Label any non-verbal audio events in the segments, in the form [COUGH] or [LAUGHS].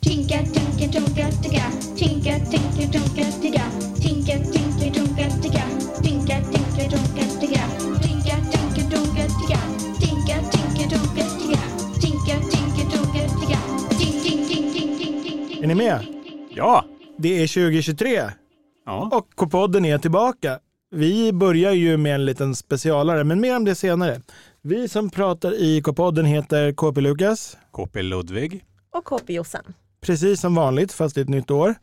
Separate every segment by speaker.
Speaker 1: Tinka, tinka, tonka, ticka. Tinka, tinka, tonka, ticka. Tinka, tinka, tonka, ticka. Tinka, tinka, tonka, ticka. Tinka, tinka, tonka, ticka. Tinka, tinka, tonka, ticka. Tinka, tinka, tonka, ticka. Tink, tink, tink, tink, tink, tink, tink.
Speaker 2: Är ni med?
Speaker 3: Ja.
Speaker 2: Det är 2023
Speaker 3: ja.
Speaker 2: och K-podden är tillbaka. Vi börjar ju med en liten specialare, men mer om det senare. Vi som pratar i K-podden heter KP Lukas,
Speaker 3: KP Ludvig.
Speaker 4: Och KP Jossan.
Speaker 2: precis som vanligt fast i ett nytt år.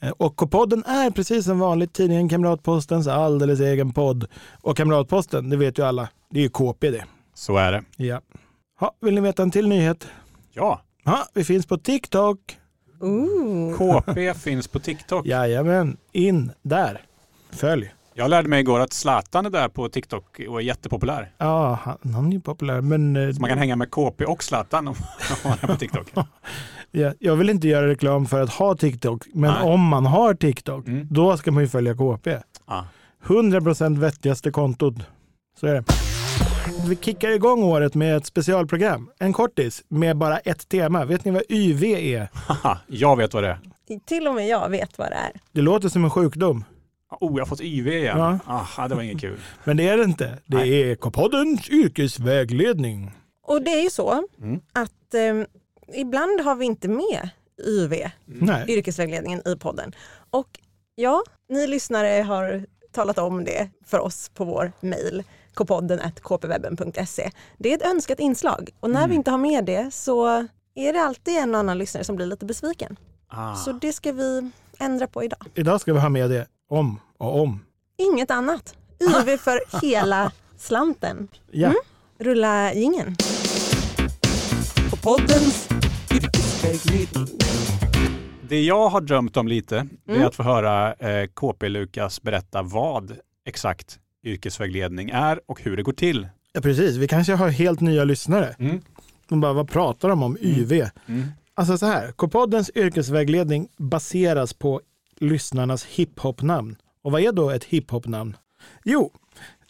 Speaker 2: Eh, Och K-podden är precis som vanligt tidningen Kamratpostens alldeles egen podd. Och Kamratposten, det vet ju alla, det är ju KP det.
Speaker 3: Så är det.
Speaker 2: Ja. Ha, vill ni veta en till nyhet?
Speaker 3: Ja.
Speaker 2: Ha, vi finns på TikTok.
Speaker 4: Ooh.
Speaker 3: KP finns på TikTok.
Speaker 2: Jajamän, in där. Följ.
Speaker 3: Jag lärde mig igår att Zlatan är där på TikTok och är jättepopulär.
Speaker 2: Ja, han, han är ju populär, men eh,
Speaker 3: Så man kan hänga med KP och Zlatan om om man är på TikTok.
Speaker 2: ja, jag vill inte göra reklam för att ha TikTok. Men
Speaker 3: Nej.
Speaker 2: om man har TikTok,
Speaker 3: Mm.
Speaker 2: då ska man ju följa KP.
Speaker 3: Ja.
Speaker 2: 100% vettigaste kontot. Så är det. Vi kickar igång året med ett specialprogram, en kortis, med bara ett tema. Vet ni vad YV är?
Speaker 3: Haha, jag vet vad det är.
Speaker 4: Till och med jag vet vad det är.
Speaker 2: Det låter som en sjukdom,
Speaker 3: Oh, jag har fått YV igen.
Speaker 2: Ja.
Speaker 3: Aha, det var inget kul.
Speaker 2: men det är det inte. Det
Speaker 3: Nej.
Speaker 2: är K-poddens yrkesvägledning.
Speaker 4: Och det är ju så
Speaker 3: Mm.
Speaker 4: att eh, ibland har vi inte med YV,
Speaker 3: Mm.
Speaker 2: Nej.
Speaker 4: yrkesvägledningen, i podden. Och ja, ni lyssnare har talat om det för oss på vår mejl kpodden kpwebben.se. Det är ett önskat inslag och när vi inte har med det så är det alltid en och annan lyssnare som blir lite besviken.
Speaker 3: Ah.
Speaker 4: Så det ska vi ändra på idag.
Speaker 2: Idag ska vi ha med det om och om.
Speaker 4: Inget annat. YV för hela slanten.
Speaker 2: Ja.
Speaker 4: Rulla gingen. På poddens.
Speaker 3: Det jag har drömt om lite, det är att få höra eh, KP Lukas berätta vad exakt yrkesvägledning är och hur det går till.
Speaker 2: ja, precis. Vi kanske har helt nya lyssnare.
Speaker 3: Mm.
Speaker 2: De bara, vad pratar de om YV?
Speaker 3: Mm.
Speaker 2: Alltså så här, K-poddens yrkesvägledning baseras på lyssnarnas hiphop-namn. Och vad är då ett hiphop-namn? Jo,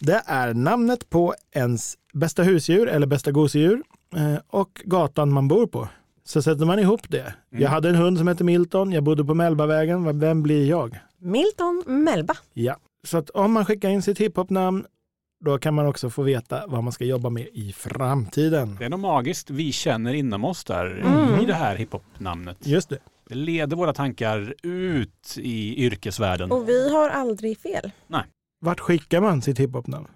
Speaker 2: det är namnet på ens bästa husdjur eller bästa gosedjur eh, och gatan man bor på. Så sätter man ihop det.
Speaker 3: Mm.
Speaker 2: Jag hade en hund som hette Milton, jag bodde på Mellbavägen, Vad- vem blir jag?
Speaker 4: Milton Melba.
Speaker 2: Ja, så att om man skickar in sitt hiphop-namn då kan man också få veta vad man ska jobba med i framtiden.
Speaker 3: Det är något magiskt vi känner inom oss där i det här hiphop-namnet.
Speaker 2: Just det.
Speaker 3: Det leder våra tankar ut i yrkesvärlden.
Speaker 4: Och vi har aldrig fel.
Speaker 2: Vart skickar man sitt hiphopnamn?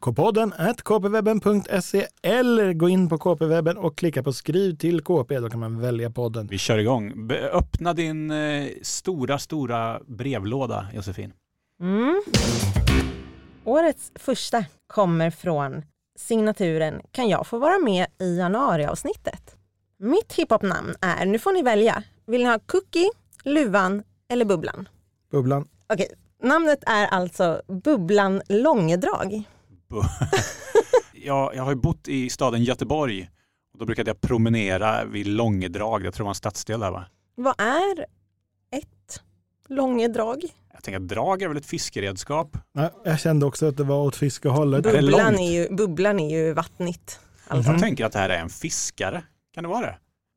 Speaker 2: Kpodden at kpwebben.se eller gå in på kpwebben och klicka på skriv till kp. Då kan man välja podden.
Speaker 3: Vi kör igång. Be- öppna din eh, stora, stora brevlåda, Josefin.
Speaker 4: Mm. Årets första kommer från signaturen Kan jag få vara med i januariavsnittet? Mitt hiphopnamn är, nu får ni välja, vill ni ha Cookie, Luvan eller Bubblan?
Speaker 2: Bubblan.
Speaker 4: Okej, namnet är alltså Bubblan Långedrag.
Speaker 3: [LAUGHS] Jag, jag har ju bott i staden Göteborg och då brukade jag promenera vid Långedrag. Jag tror det var en stadsdel där va?
Speaker 4: Vad är ett Långedrag?
Speaker 3: Jag tänker att drag är väl ett fiskeredskap?
Speaker 2: Ja, Jag kände också att det var åt fiskehållet.
Speaker 3: det
Speaker 4: Bubblan
Speaker 3: långt?
Speaker 4: är, ju, bubblan är ju vattnigt. Alltså.
Speaker 3: Jag tänker att det här är en fiskare. Kan det vara det?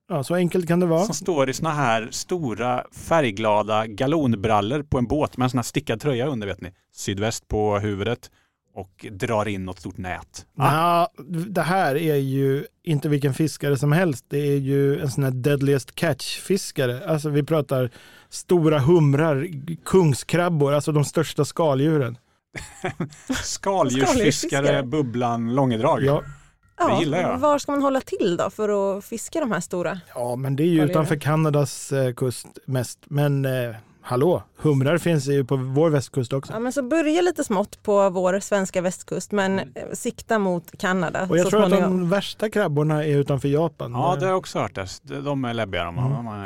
Speaker 2: Ja, så enkelt kan det vara.
Speaker 3: Som står i såna här stora färgglada galonbrallor på en båt med en sån här stickad tröja under vet ni. Sydväst på huvudet och drar in något stort nät.
Speaker 2: Ja, det här är ju inte vilken fiskare som helst. Det är ju en sån här deadliest catch-fiskare. Alltså vi pratar stora humrar, kungskrabbor, alltså de största skaldjuren.
Speaker 3: Skaldjursfiskare,
Speaker 4: Skaldjursfiskare.
Speaker 3: Bubblan, Långedrag.
Speaker 2: Ja,
Speaker 3: Det gillar jag.
Speaker 4: Var ska man hålla till då för att fiska de här stora?
Speaker 2: Ja, men det är ju
Speaker 4: Vad är
Speaker 2: utanför Kanadas eh, kust mest. Men eh, hallå, humrar finns ju på vår västkust också.
Speaker 4: Ja, men så börja lite smått på vår svenska västkust men
Speaker 3: Mm.
Speaker 4: eh, sikta mot Kanada
Speaker 2: Och jag
Speaker 4: så
Speaker 2: tror att
Speaker 4: småningom.
Speaker 2: de värsta krabborna är utanför Japan.
Speaker 3: Ja, det har jag också hört. Det. De- De är läbbiga de.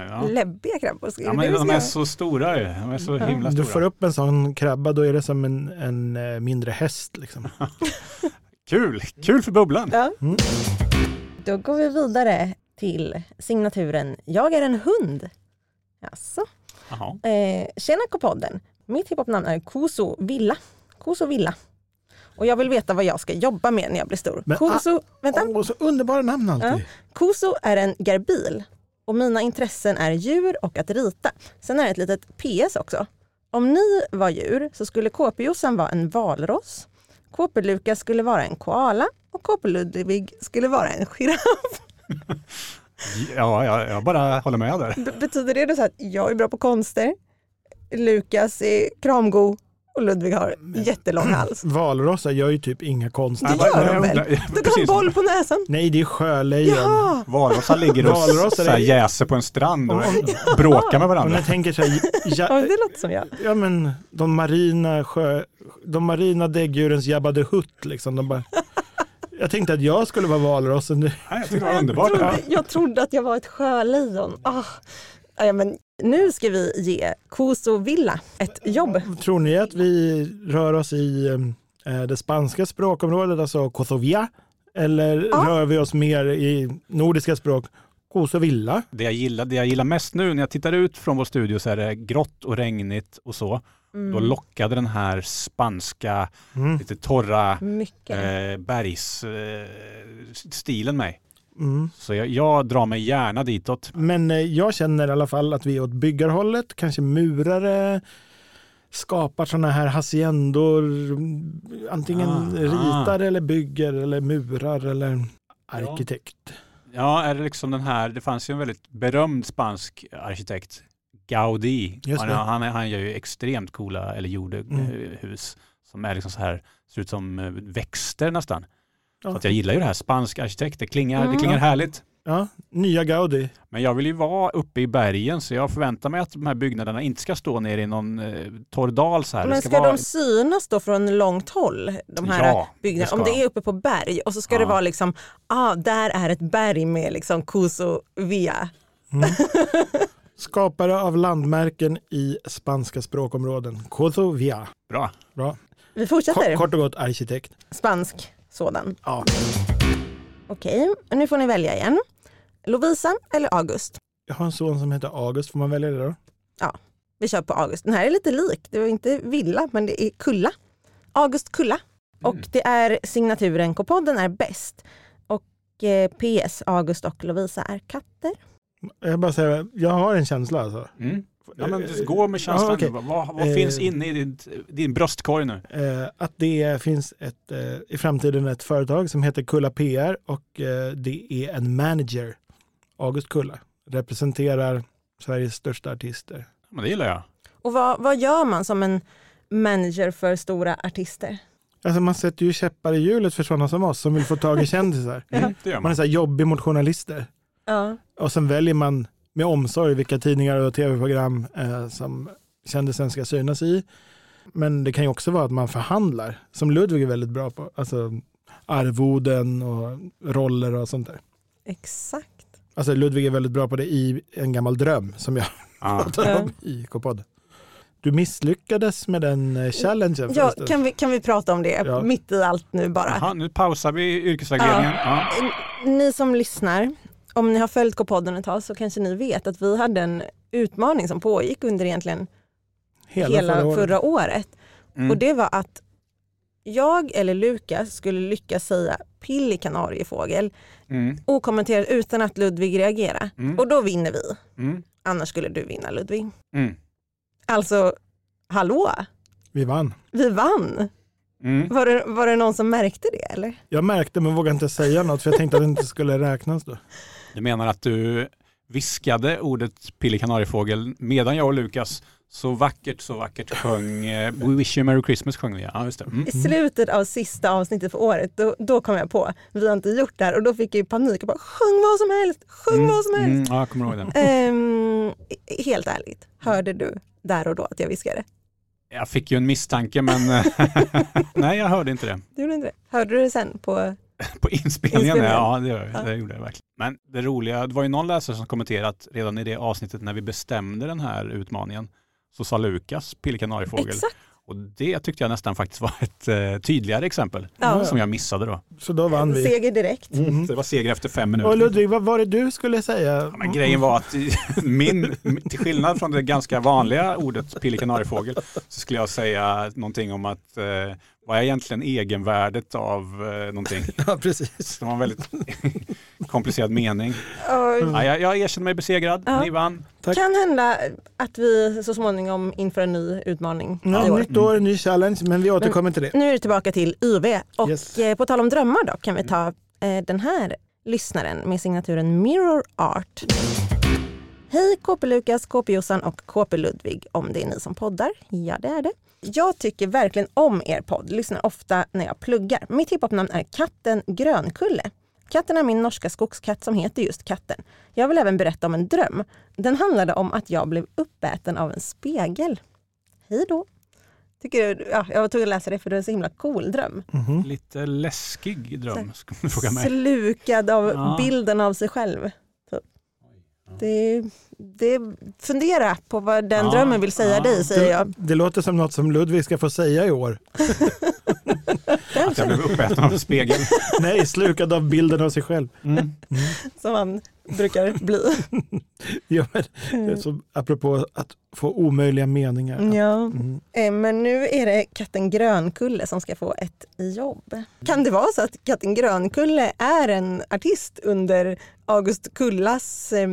Speaker 3: Ja.
Speaker 4: Läbbiga krabbor, ska
Speaker 3: Ja,
Speaker 4: det
Speaker 3: men
Speaker 4: det vi
Speaker 3: de
Speaker 4: ska
Speaker 3: är
Speaker 4: göra?
Speaker 3: så stora ju. De är så himla
Speaker 2: du får
Speaker 3: stora.
Speaker 2: upp en sån krabba, då är det som en, en eh, mindre häst. Liksom.
Speaker 3: Kul! Kul för Bubblan!
Speaker 4: Ja.
Speaker 2: Mm.
Speaker 4: Då går vi vidare till signaturen Jag är en hund. Jaså?
Speaker 3: Jaha.
Speaker 4: Eh, tjena K-podden! Mitt hiphopnamn är Koso Villa. Koso Villa. Och jag vill veta vad jag ska jobba med när jag blir stor.
Speaker 2: Men, ah,
Speaker 4: Koso, vänta.
Speaker 2: Åh, så underbara namn alltid.
Speaker 4: Ja. Koso är en garbil Och mina intressen är djur och att rita. Sen är det ett litet PS också. Om ni var djur så skulle KP-Jossan vara en valross, KP-Lukas skulle vara en koala och KP-Ludvig skulle vara en giraff. [LAUGHS]
Speaker 3: Ja, jag, jag bara håller med där.
Speaker 4: B- betyder det då så att jag är bra på konster, Lukas är kramgo och Ludvig har jättelång hals?
Speaker 2: Mm. Valrossar gör ju typ inga konster.
Speaker 4: Det gör de väl? Du kan ha en
Speaker 3: Precis.
Speaker 4: boll på näsan.
Speaker 2: Nej, det är sjölejon.
Speaker 4: Jaha!
Speaker 3: Valrossar ligger och
Speaker 2: Valrossar
Speaker 3: så
Speaker 2: är-
Speaker 3: här jäser på en strand och
Speaker 2: Om-
Speaker 3: bråkar med
Speaker 2: Om
Speaker 3: varandra.
Speaker 2: jag tänker så här,
Speaker 4: Ja,
Speaker 2: ja,
Speaker 4: det låter som jag.
Speaker 2: ja, men de marina, sjö, de marina däggdjurens Jabba the Hutt. Liksom, de bara, jag tänkte att jag skulle vara valrossen. [LAUGHS] Det-
Speaker 3: Nej, jag tycker det var
Speaker 4: Jag
Speaker 3: underbart.
Speaker 4: trodde, jag trodde att jag var ett sjölejon. Ah. Ja, men nu ska vi ge Koso Villa ett jobb.
Speaker 2: Tror ni att vi rör oss i eh, det spanska språkområdet, alltså Kosovia? Eller
Speaker 4: Ja.
Speaker 2: rör vi oss mer i nordiska språk, Kosovilla?
Speaker 3: Det jag, gillar, det jag gillar mest nu när jag tittar ut från vår studio så är det grått och regnigt och så. Då lockade den här spanska,
Speaker 2: Mm.
Speaker 3: lite torra
Speaker 4: Mycket.
Speaker 3: eh, bergsstilen eh, stilen mig.
Speaker 2: Mm.
Speaker 3: Så jag, jag drar mig gärna ditåt.
Speaker 2: Men eh, jag känner i alla fall att vi är åt byggarhållet, kanske murare, skapar sådana här haciendor, mm, antingen
Speaker 3: Ah,
Speaker 2: ritar eller bygger eller murar eller arkitekt.
Speaker 3: Ja, är det liksom den här, det fanns ju en väldigt berömd spansk arkitekt, Gaudí.
Speaker 2: Just
Speaker 3: Han,
Speaker 2: det.
Speaker 3: han, han gör ju extremt coola, eller gjorde eh,
Speaker 2: Mm.
Speaker 3: hus som är liksom så här, ser ut som eh, växter nästan.
Speaker 2: Ja.
Speaker 3: Så att jag gillar ju det här, spansk arkitekt, det klingar,
Speaker 4: Mm.
Speaker 3: det klingar härligt.
Speaker 2: Ja, nya Gaudi.
Speaker 3: Men jag vill ju vara uppe i bergen så jag förväntar mig att de här byggnaderna inte ska stå nere i någon eh, torr dal så här.
Speaker 4: Men
Speaker 3: det
Speaker 4: ska
Speaker 3: ska vara...
Speaker 4: de synas då från långt håll? De här
Speaker 3: Ja, det
Speaker 4: byggnaderna?
Speaker 3: ska
Speaker 4: Om det
Speaker 3: de.
Speaker 4: är uppe på berg och så ska det
Speaker 3: Ja.
Speaker 4: vara liksom, ah, där är ett berg med liksom Koso Villa.
Speaker 2: Skapare av landmärken i spanska språkområden, Kosovia.
Speaker 3: Bra.
Speaker 2: Bra.
Speaker 4: Vi
Speaker 2: Kort,
Speaker 4: fortsätter.
Speaker 2: kort och gott arkitekt.
Speaker 4: Spansk sådan.
Speaker 2: Ja.
Speaker 4: Okej, nu får ni välja igen. Lovisa eller August?
Speaker 2: Jag har en son som heter August, får man välja det då?
Speaker 4: Vi kör på August. Den här är lite lik. Det var inte villa, men det är kulla. August Kulla. Och det är signaturen K-podden är bäst. Och eh, PS August och Lovisa är katter.
Speaker 2: Jag bara säger, jag har en känsla alltså. Eh,
Speaker 3: Mm. Ja, men just gå med känslan.
Speaker 2: Ja, okej.
Speaker 3: Vad, vad, vad
Speaker 2: Eh.
Speaker 3: finns inne i din, din bröstkorg nu?
Speaker 2: Eh, att det finns ett, eh, i framtiden ett företag som heter Kulla PR och eh, det är en manager, August Kulla, representerar Sveriges största artister.
Speaker 3: Men det gillar jag.
Speaker 4: Och vad, vad gör man som en manager för stora artister?
Speaker 2: Alltså man sätter ju käppar i hjulet för sådana som oss som vill få tag i kändisar.
Speaker 3: Mm, det gör
Speaker 2: Man
Speaker 3: man.
Speaker 2: är så här jobbig mot journalister.
Speaker 4: Ja.
Speaker 2: Och sen väljer man med omsorg vilka tidningar och tv-program eh, som kändisen ska synas i. Men det kan ju också vara att man förhandlar, som Ludvig är väldigt bra på. Alltså arvoden och roller och sånt där.
Speaker 4: Exakt.
Speaker 2: Alltså Ludvig är väldigt bra på det i En gammal dröm som jag
Speaker 3: Ja.
Speaker 2: pratar om i K-podd. Du misslyckades med den eh, challengen
Speaker 4: Ja,
Speaker 2: förresten.
Speaker 4: kan, vi, kan vi prata om det
Speaker 2: Ja.
Speaker 4: mitt i allt nu bara?
Speaker 3: Jaha, nu pausar vi yrkesvägledningen. Ja.
Speaker 4: Ni som lyssnar, om ni har följt K-podden ett tag så kanske ni vet att vi hade en utmaning som pågick under egentligen hela, förra, året.
Speaker 3: Mm.
Speaker 4: Och det var att jag eller Lukas skulle lyckas säga pill i kanariefågel
Speaker 3: Mm.
Speaker 4: okommenterat utan att Ludvig reagerar.
Speaker 3: Mm.
Speaker 4: Och då vinner vi.
Speaker 3: Mm.
Speaker 4: Annars skulle du vinna Ludvig.
Speaker 3: Mm.
Speaker 4: Alltså, hallå,
Speaker 2: Vi vann.
Speaker 4: vi vann.
Speaker 3: Mm.
Speaker 4: Var det, var det någon som märkte det eller?
Speaker 2: Jag märkte men vågade inte säga något för jag tänkte att det inte skulle räknas då.
Speaker 3: Du menar att du viskade ordet pillekanariefågel medan jag och Lukas så vackert, så vackert sjöng eh, We wish you a merry Christmas sjöng vi. Ja, just det. Mm.
Speaker 4: I slutet av sista avsnittet för året, då, då kom jag på, vi har inte gjort det här och då fick jag ju panik och bara sjung vad som helst, sjung [LAUGHS] vad som helst.
Speaker 3: Mm. Ja, jag kommer ihåg den.
Speaker 4: Ehm, i- helt ärligt, hörde du där och då att jag viskade?
Speaker 3: Jag fick ju en misstanke men eh, [LAUGHS] nej jag hörde inte det.
Speaker 4: Du gjorde inte det? Hörde du det sen på
Speaker 3: På inspelningen,
Speaker 4: Inspelningen.
Speaker 3: ja det, gör jag.
Speaker 4: Ja.
Speaker 3: det gjorde jag verkligen. Men det roliga, det var ju någon läsare som kommenterade att redan i det avsnittet när vi bestämde den här utmaningen så sa Lukas pillekanariefågel.
Speaker 4: Exakt.
Speaker 3: Och det tyckte jag nästan faktiskt var ett eh, tydligare exempel
Speaker 4: Ja.
Speaker 3: som jag missade då.
Speaker 2: Så då vann vi. Mm.
Speaker 4: seger direkt?
Speaker 3: Så det var seger efter fem minuter.
Speaker 2: Och Ludvig, vad var det du skulle säga?
Speaker 3: Men grejen var att [LAUGHS] min, till skillnad från det ganska vanliga ordet pillekanariefågel så skulle jag säga någonting om att eh, Vad är egentligen egenvärdet av eh, någonting?
Speaker 2: [LAUGHS] Ja, precis.
Speaker 3: Det var en väldigt [LAUGHS] komplicerad mening.
Speaker 4: Och
Speaker 3: Ja, jag, jag erkänner mig besegrad.
Speaker 4: Ja.
Speaker 3: Ni vann.
Speaker 2: Mm, Tack.
Speaker 4: kan hända att vi så småningom inför en ny utmaning i
Speaker 2: Ja,
Speaker 4: år.
Speaker 2: nytt år, ny challenge, men vi återkommer till det.
Speaker 4: Nu är det tillbaka till YV och
Speaker 2: Yes.
Speaker 4: eh, på tal om drömmar då kan vi ta eh, den här lyssnaren med signaturen Mirror Art. Hej KP Lukas, KP Jossan och KP Ludvig om det är ni som poddar. Ja det är det. Jag tycker verkligen om er podd, lyssnar ofta när jag pluggar. Mitt hiphopnamn är katten Grönkulle. Katten är min norska skogskatt som heter just katten. Jag vill även berätta om en dröm. Den handlade om att jag blev uppäten av en spegel. Hej då! Tycker du, ja, jag var tvungen att läsa det för det är en så himla cool dröm.
Speaker 2: Mm.
Speaker 3: Lite läskig dröm, skulle du fråga mig.
Speaker 4: Slukad av
Speaker 3: Ja.
Speaker 4: bilden av sig själv. typ. Det, det, fundera på vad den
Speaker 3: Ja,
Speaker 4: drömmen vill säga
Speaker 3: ja.
Speaker 4: dig, säger jag.
Speaker 2: Det låter som något som Ludvig ska få säga i år.
Speaker 3: Att jag blev uppäten av en spegel.
Speaker 2: Nej, slukad av bilden av sig själv.
Speaker 3: Mm.
Speaker 4: Som man brukar
Speaker 3: [LAUGHS]
Speaker 4: bli.
Speaker 2: Ja, men,
Speaker 4: Mm.
Speaker 2: så, apropå att få omöjliga meningar.
Speaker 4: ja.
Speaker 2: Mm.
Speaker 4: Eh, Men nu är det katten Grönkulle som ska få ett jobb. Kan det vara så att katten Grönkulle är en artist under August Kullas, eh,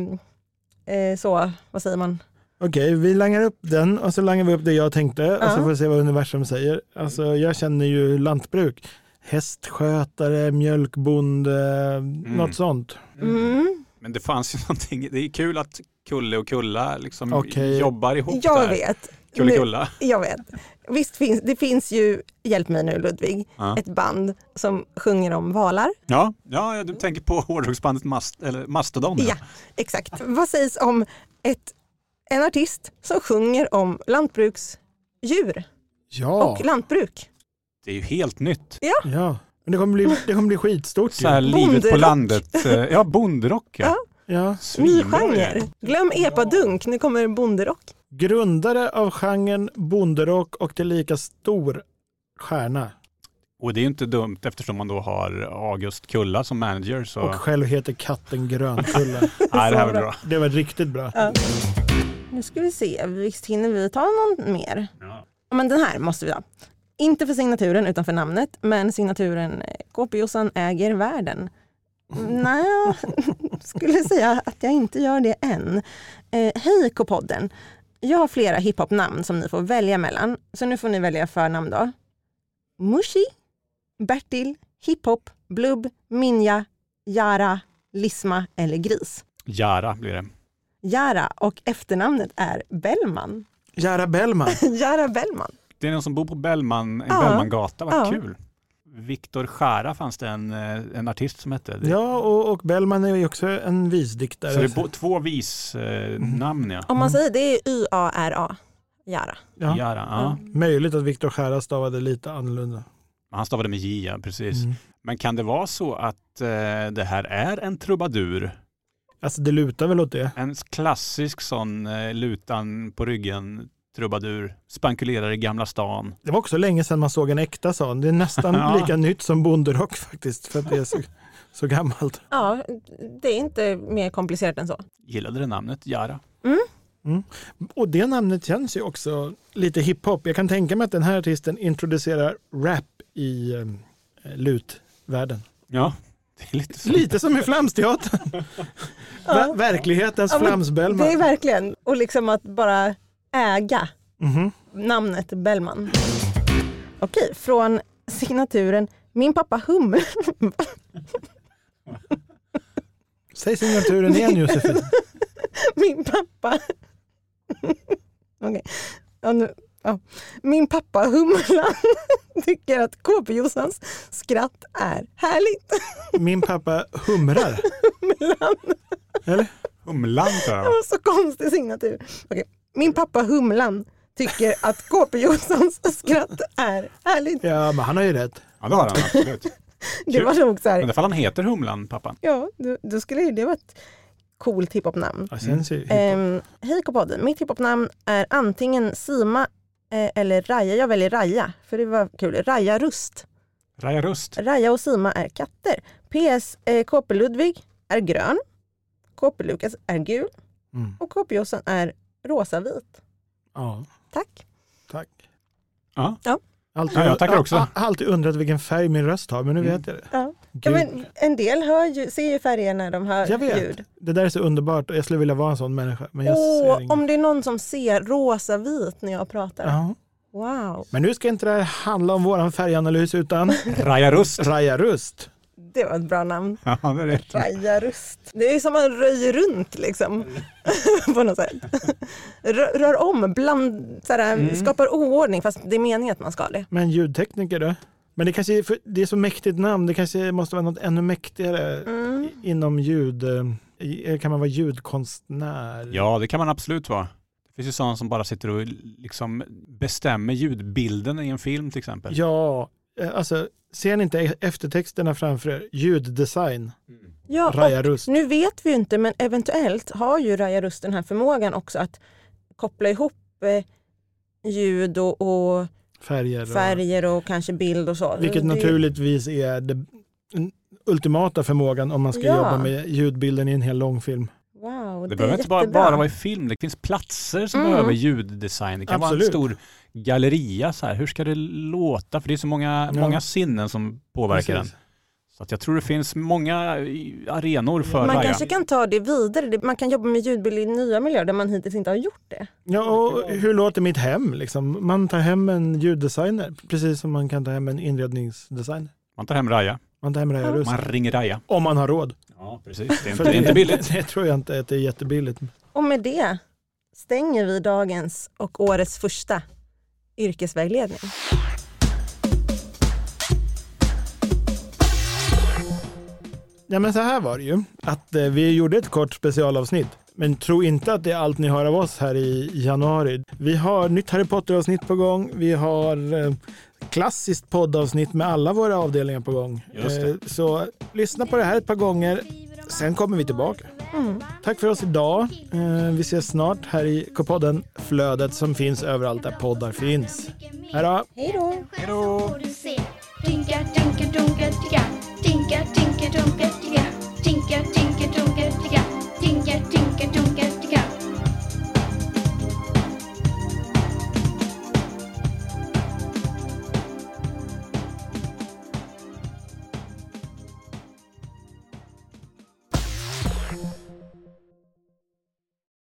Speaker 4: eh, så, vad säger man,
Speaker 2: Okej, vi langar upp den och så langar vi upp det jag tänkte och så
Speaker 4: Ja.
Speaker 2: får vi se vad universum säger. Alltså, jag känner ju lantbruk, hästskötare, mjölkbonde, något sånt.
Speaker 4: Mm.
Speaker 3: Men det fanns ju någonting. Det är kul att Kulle och Kulla liksom
Speaker 2: Okej.
Speaker 3: jobbar ihop
Speaker 4: Jag
Speaker 3: där.
Speaker 4: vet.
Speaker 3: Kulle
Speaker 4: Nu-
Speaker 3: Kulla.
Speaker 4: Jag vet. Visst finns det finns ju, hjälp mig nu Ludvig,
Speaker 3: Ja.
Speaker 4: ett band som sjunger om valar.
Speaker 3: Ja. ja, du tänker på [LAUGHS] hårdrocksbandet Mast, eller Mastodon.
Speaker 4: Ja, exakt. Vad sägs om ett, en artist som sjunger om lantbruksdjur
Speaker 2: Ja,
Speaker 4: och lantbruk?
Speaker 3: Det är ju helt nytt.
Speaker 2: ja. Men det kommer bli, det kommer bli skitstort.
Speaker 3: Så här
Speaker 2: ju.
Speaker 3: livet på
Speaker 4: Bonderock.
Speaker 3: landet. eh, Ja, bonderock. Ja.
Speaker 2: Ja.
Speaker 4: Ny
Speaker 3: Svinbra
Speaker 4: genre.
Speaker 3: ju.
Speaker 4: Glöm epadunk, nu kommer bonderock.
Speaker 2: Grundare av genren bonderock och tillika stor stjärna.
Speaker 3: Och det är ju inte dumt eftersom man då har August Kulla som manager. Så
Speaker 2: Och själv heter katten Grönkulla. [LAUGHS]
Speaker 3: nej, det här var bra.
Speaker 2: det var riktigt bra.
Speaker 4: Nu ska vi se, visst hinner vi ta någon mer?
Speaker 3: Ja.
Speaker 4: Ja, Men den här måste vi ha. Inte för signaturen utan för namnet, men signaturen eh, KP-Jossan äger världen. Nej, skulle säga att jag inte gör det än. Eh, hej K-podden! Jag har flera hiphop-namn som ni får välja mellan, så nu får ni välja förnamn då. Mushi, Bertil, Hiphop, Blubb, Minja, Jara, Lisma eller Gris.
Speaker 3: Jara blir det.
Speaker 4: Jara och efternamnet är Bellman.
Speaker 2: Jara Bellman.
Speaker 4: Jara Bellman.
Speaker 3: Det är någon som bor på Bellman, en
Speaker 4: Ja.
Speaker 3: Bellmangata, vad
Speaker 4: Ja.
Speaker 3: kul. Viktor Skära fanns det en, eh, en artist som hette. Det-
Speaker 2: Ja, och, och Bellman är ju också en visdiktare.
Speaker 3: Så det är bo- två visnamn eh,
Speaker 4: Om man säger det är Y-A-R-A, Jara.
Speaker 3: ja.
Speaker 2: ja.
Speaker 3: Jara, ja.
Speaker 2: Möjligt att Viktor Skära stavade lite annorlunda.
Speaker 3: Han stavade med J, ja, precis.
Speaker 2: Mm.
Speaker 3: Men kan det vara så att eh, det här är en trubadur?
Speaker 2: Alltså det lutar väl åt det.
Speaker 3: En klassisk sån eh, lutan på ryggen trubadur, spankulerar i Gamla stan.
Speaker 2: Det var också länge sedan man såg en äkta sån. Det är
Speaker 4: [LAUGHS]
Speaker 2: nästan
Speaker 3: Ja.
Speaker 2: lika nytt som bonderock faktiskt, för att det är så, så gammalt.
Speaker 4: Ja, det är inte mer komplicerat än så.
Speaker 3: Gillade det namnet, Jara?
Speaker 2: Och det namnet känns ju också lite hiphop. Jag kan tänka mig att den här artisten introducerar rap i eh, lutvärlden.
Speaker 3: Ja, det är lite så.
Speaker 2: Lite som i Flamsteatern. Ver- verklighetens
Speaker 4: Ja, men
Speaker 2: Flams Bellman.
Speaker 4: Det är verkligen, och liksom att bara äga
Speaker 2: Mhm.
Speaker 4: namnet Bellman. Okej, från signaturen Min pappa Hum. [LAUGHS]
Speaker 2: Säg signaturen igen Josefin.
Speaker 4: Min pappa... [LAUGHS] Okej. Ja, nu, ja. Min pappa Humlan [LAUGHS] tycker att KP-Jossans skratt är härligt.
Speaker 2: Min pappa humrar. Eller?
Speaker 3: Humlan tror jag.
Speaker 4: Det var så konstig signatur. Okej. Min pappa Humlan tycker att KP Jonssons skratt är härligt.
Speaker 2: Ja, men han har ju rätt.
Speaker 3: Ja, det har han [LAUGHS] absolut.
Speaker 4: Det var nog så
Speaker 3: Men
Speaker 4: här,
Speaker 3: i fall han heter Humlan, pappan.
Speaker 4: ja, då, då skulle ju det vara ett coolt hiphop-namn.
Speaker 2: Ja, känns ju
Speaker 4: Ehm, Hej K-podden, mitt hiphop-namn är antingen Sima eh, eller Raja. Jag väljer Raja, för det var kul. Raja Rust.
Speaker 3: Raja Rust.
Speaker 4: Raja och Sima är katter. PS, eh, KP Ludvig är grön. KP Lukas är gul.
Speaker 2: Mm.
Speaker 4: Och KP Jossan är rosavit.
Speaker 2: Ja,
Speaker 4: Tack.
Speaker 2: tack.
Speaker 3: Ja.
Speaker 4: Ja.
Speaker 2: Alltid,
Speaker 3: Ja, jag tackar också.
Speaker 2: Jag har alltid undrat vilken färg min röst har, men nu
Speaker 3: Mm.
Speaker 2: vet jag det.
Speaker 4: Ja. Ja,
Speaker 2: Gud,
Speaker 4: men en del hör ju, ser ju färger när de hör
Speaker 2: Jag vet.
Speaker 4: ljud.
Speaker 2: Det där är så underbart och jag skulle vilja vara en sån människa. Men jag ser
Speaker 4: Åh,
Speaker 2: ingen.
Speaker 4: om det är någon som ser rosa-vit när jag pratar.
Speaker 2: Ja.
Speaker 4: Wow,
Speaker 2: Men nu ska inte det här handla om våran färganalys
Speaker 4: [LAUGHS]
Speaker 2: utan
Speaker 3: Raja Rust.
Speaker 2: Raja Rust.
Speaker 4: det var ett bra namn.
Speaker 3: [LAUGHS] Ja, det är det.
Speaker 4: Raja rust. Det är som man röjer runt liksom. [LAUGHS] på något sätt. Rör, rör om, bland, sådär,
Speaker 2: Mm.
Speaker 4: skapar oordning fast det är meningen att man ska det.
Speaker 2: Men ljudtekniker då? Men det kanske är, för det är så mäktigt namn, det kanske måste vara något ännu mäktigare
Speaker 4: Mm.
Speaker 2: i- inom ljud. eh, i- Kan man vara ljudkonstnär?
Speaker 3: Ja, det kan man absolut vara. Det finns ju sådana som bara sitter och liksom bestämmer ljudbilden i en film till exempel.
Speaker 2: Ja, eh, alltså ser ni inte e- eftertexterna framför er? Ljuddesign,
Speaker 4: Ja,
Speaker 2: Raja
Speaker 4: och
Speaker 2: Rust.
Speaker 4: nu vet vi ju inte men eventuellt har ju Raja rust den här förmågan också att koppla ihop eh, ljud och, och
Speaker 2: färger. och-
Speaker 4: färger och kanske bild och så.
Speaker 2: Vilket
Speaker 4: Det-
Speaker 2: naturligtvis är det, den ultimata förmågan om man ska
Speaker 4: Ja.
Speaker 2: jobba med ljudbilden i en hel långfilm.
Speaker 4: Wow,
Speaker 3: Det
Speaker 4: det,
Speaker 3: behöver
Speaker 4: är
Speaker 3: inte bara,
Speaker 4: jättebra.
Speaker 3: bara vara i film, det finns platser som
Speaker 4: Mm.
Speaker 3: behöver ljuddesign. Det kan vara en
Speaker 2: Absolut.
Speaker 3: stor galleria så här. Hur ska det låta? För det är så många,
Speaker 2: Ja.
Speaker 3: många sinnen som påverkar
Speaker 2: Precis.
Speaker 3: den. Så att jag tror det finns många i- arenor för
Speaker 4: Man
Speaker 3: Raja.
Speaker 4: kanske kan ta det vidare. Det- Man kan jobba med ljudbild i nya miljöer där man hittills inte har gjort det.
Speaker 2: Ja, och hur låter mitt hem? Liksom? Man tar hem en ljuddesigner, precis som man kan ta hem en inredningsdesigner.
Speaker 3: Man tar hem Raja,
Speaker 2: Man tar hem Raja Rust.
Speaker 3: man ringer Raja.
Speaker 2: Om man har råd.
Speaker 3: Ja, precis. Det är inte,
Speaker 2: För
Speaker 3: det är inte billigt.
Speaker 2: [LAUGHS] Det tror jag inte att det är jättebilligt.
Speaker 4: Och med det stänger vi dagens och årets första yrkesvägledning.
Speaker 2: Ja, men så här var det ju. Att eh, vi gjorde ett kort specialavsnitt. Men tro inte att det är allt ni hör av oss här i januari. Vi har nytt Harry Potter-avsnitt på gång. Vi har eh, klassiskt poddavsnitt med alla våra avdelningar på gång.
Speaker 3: Just det.
Speaker 2: Eh, så lyssna på det här ett par gånger. Sen kommer vi tillbaka. Tack för oss idag. Eh, vi ses snart här i K-podden Flödet som finns överallt där poddar finns. Hej då!
Speaker 4: Hej då!
Speaker 1: Hej då!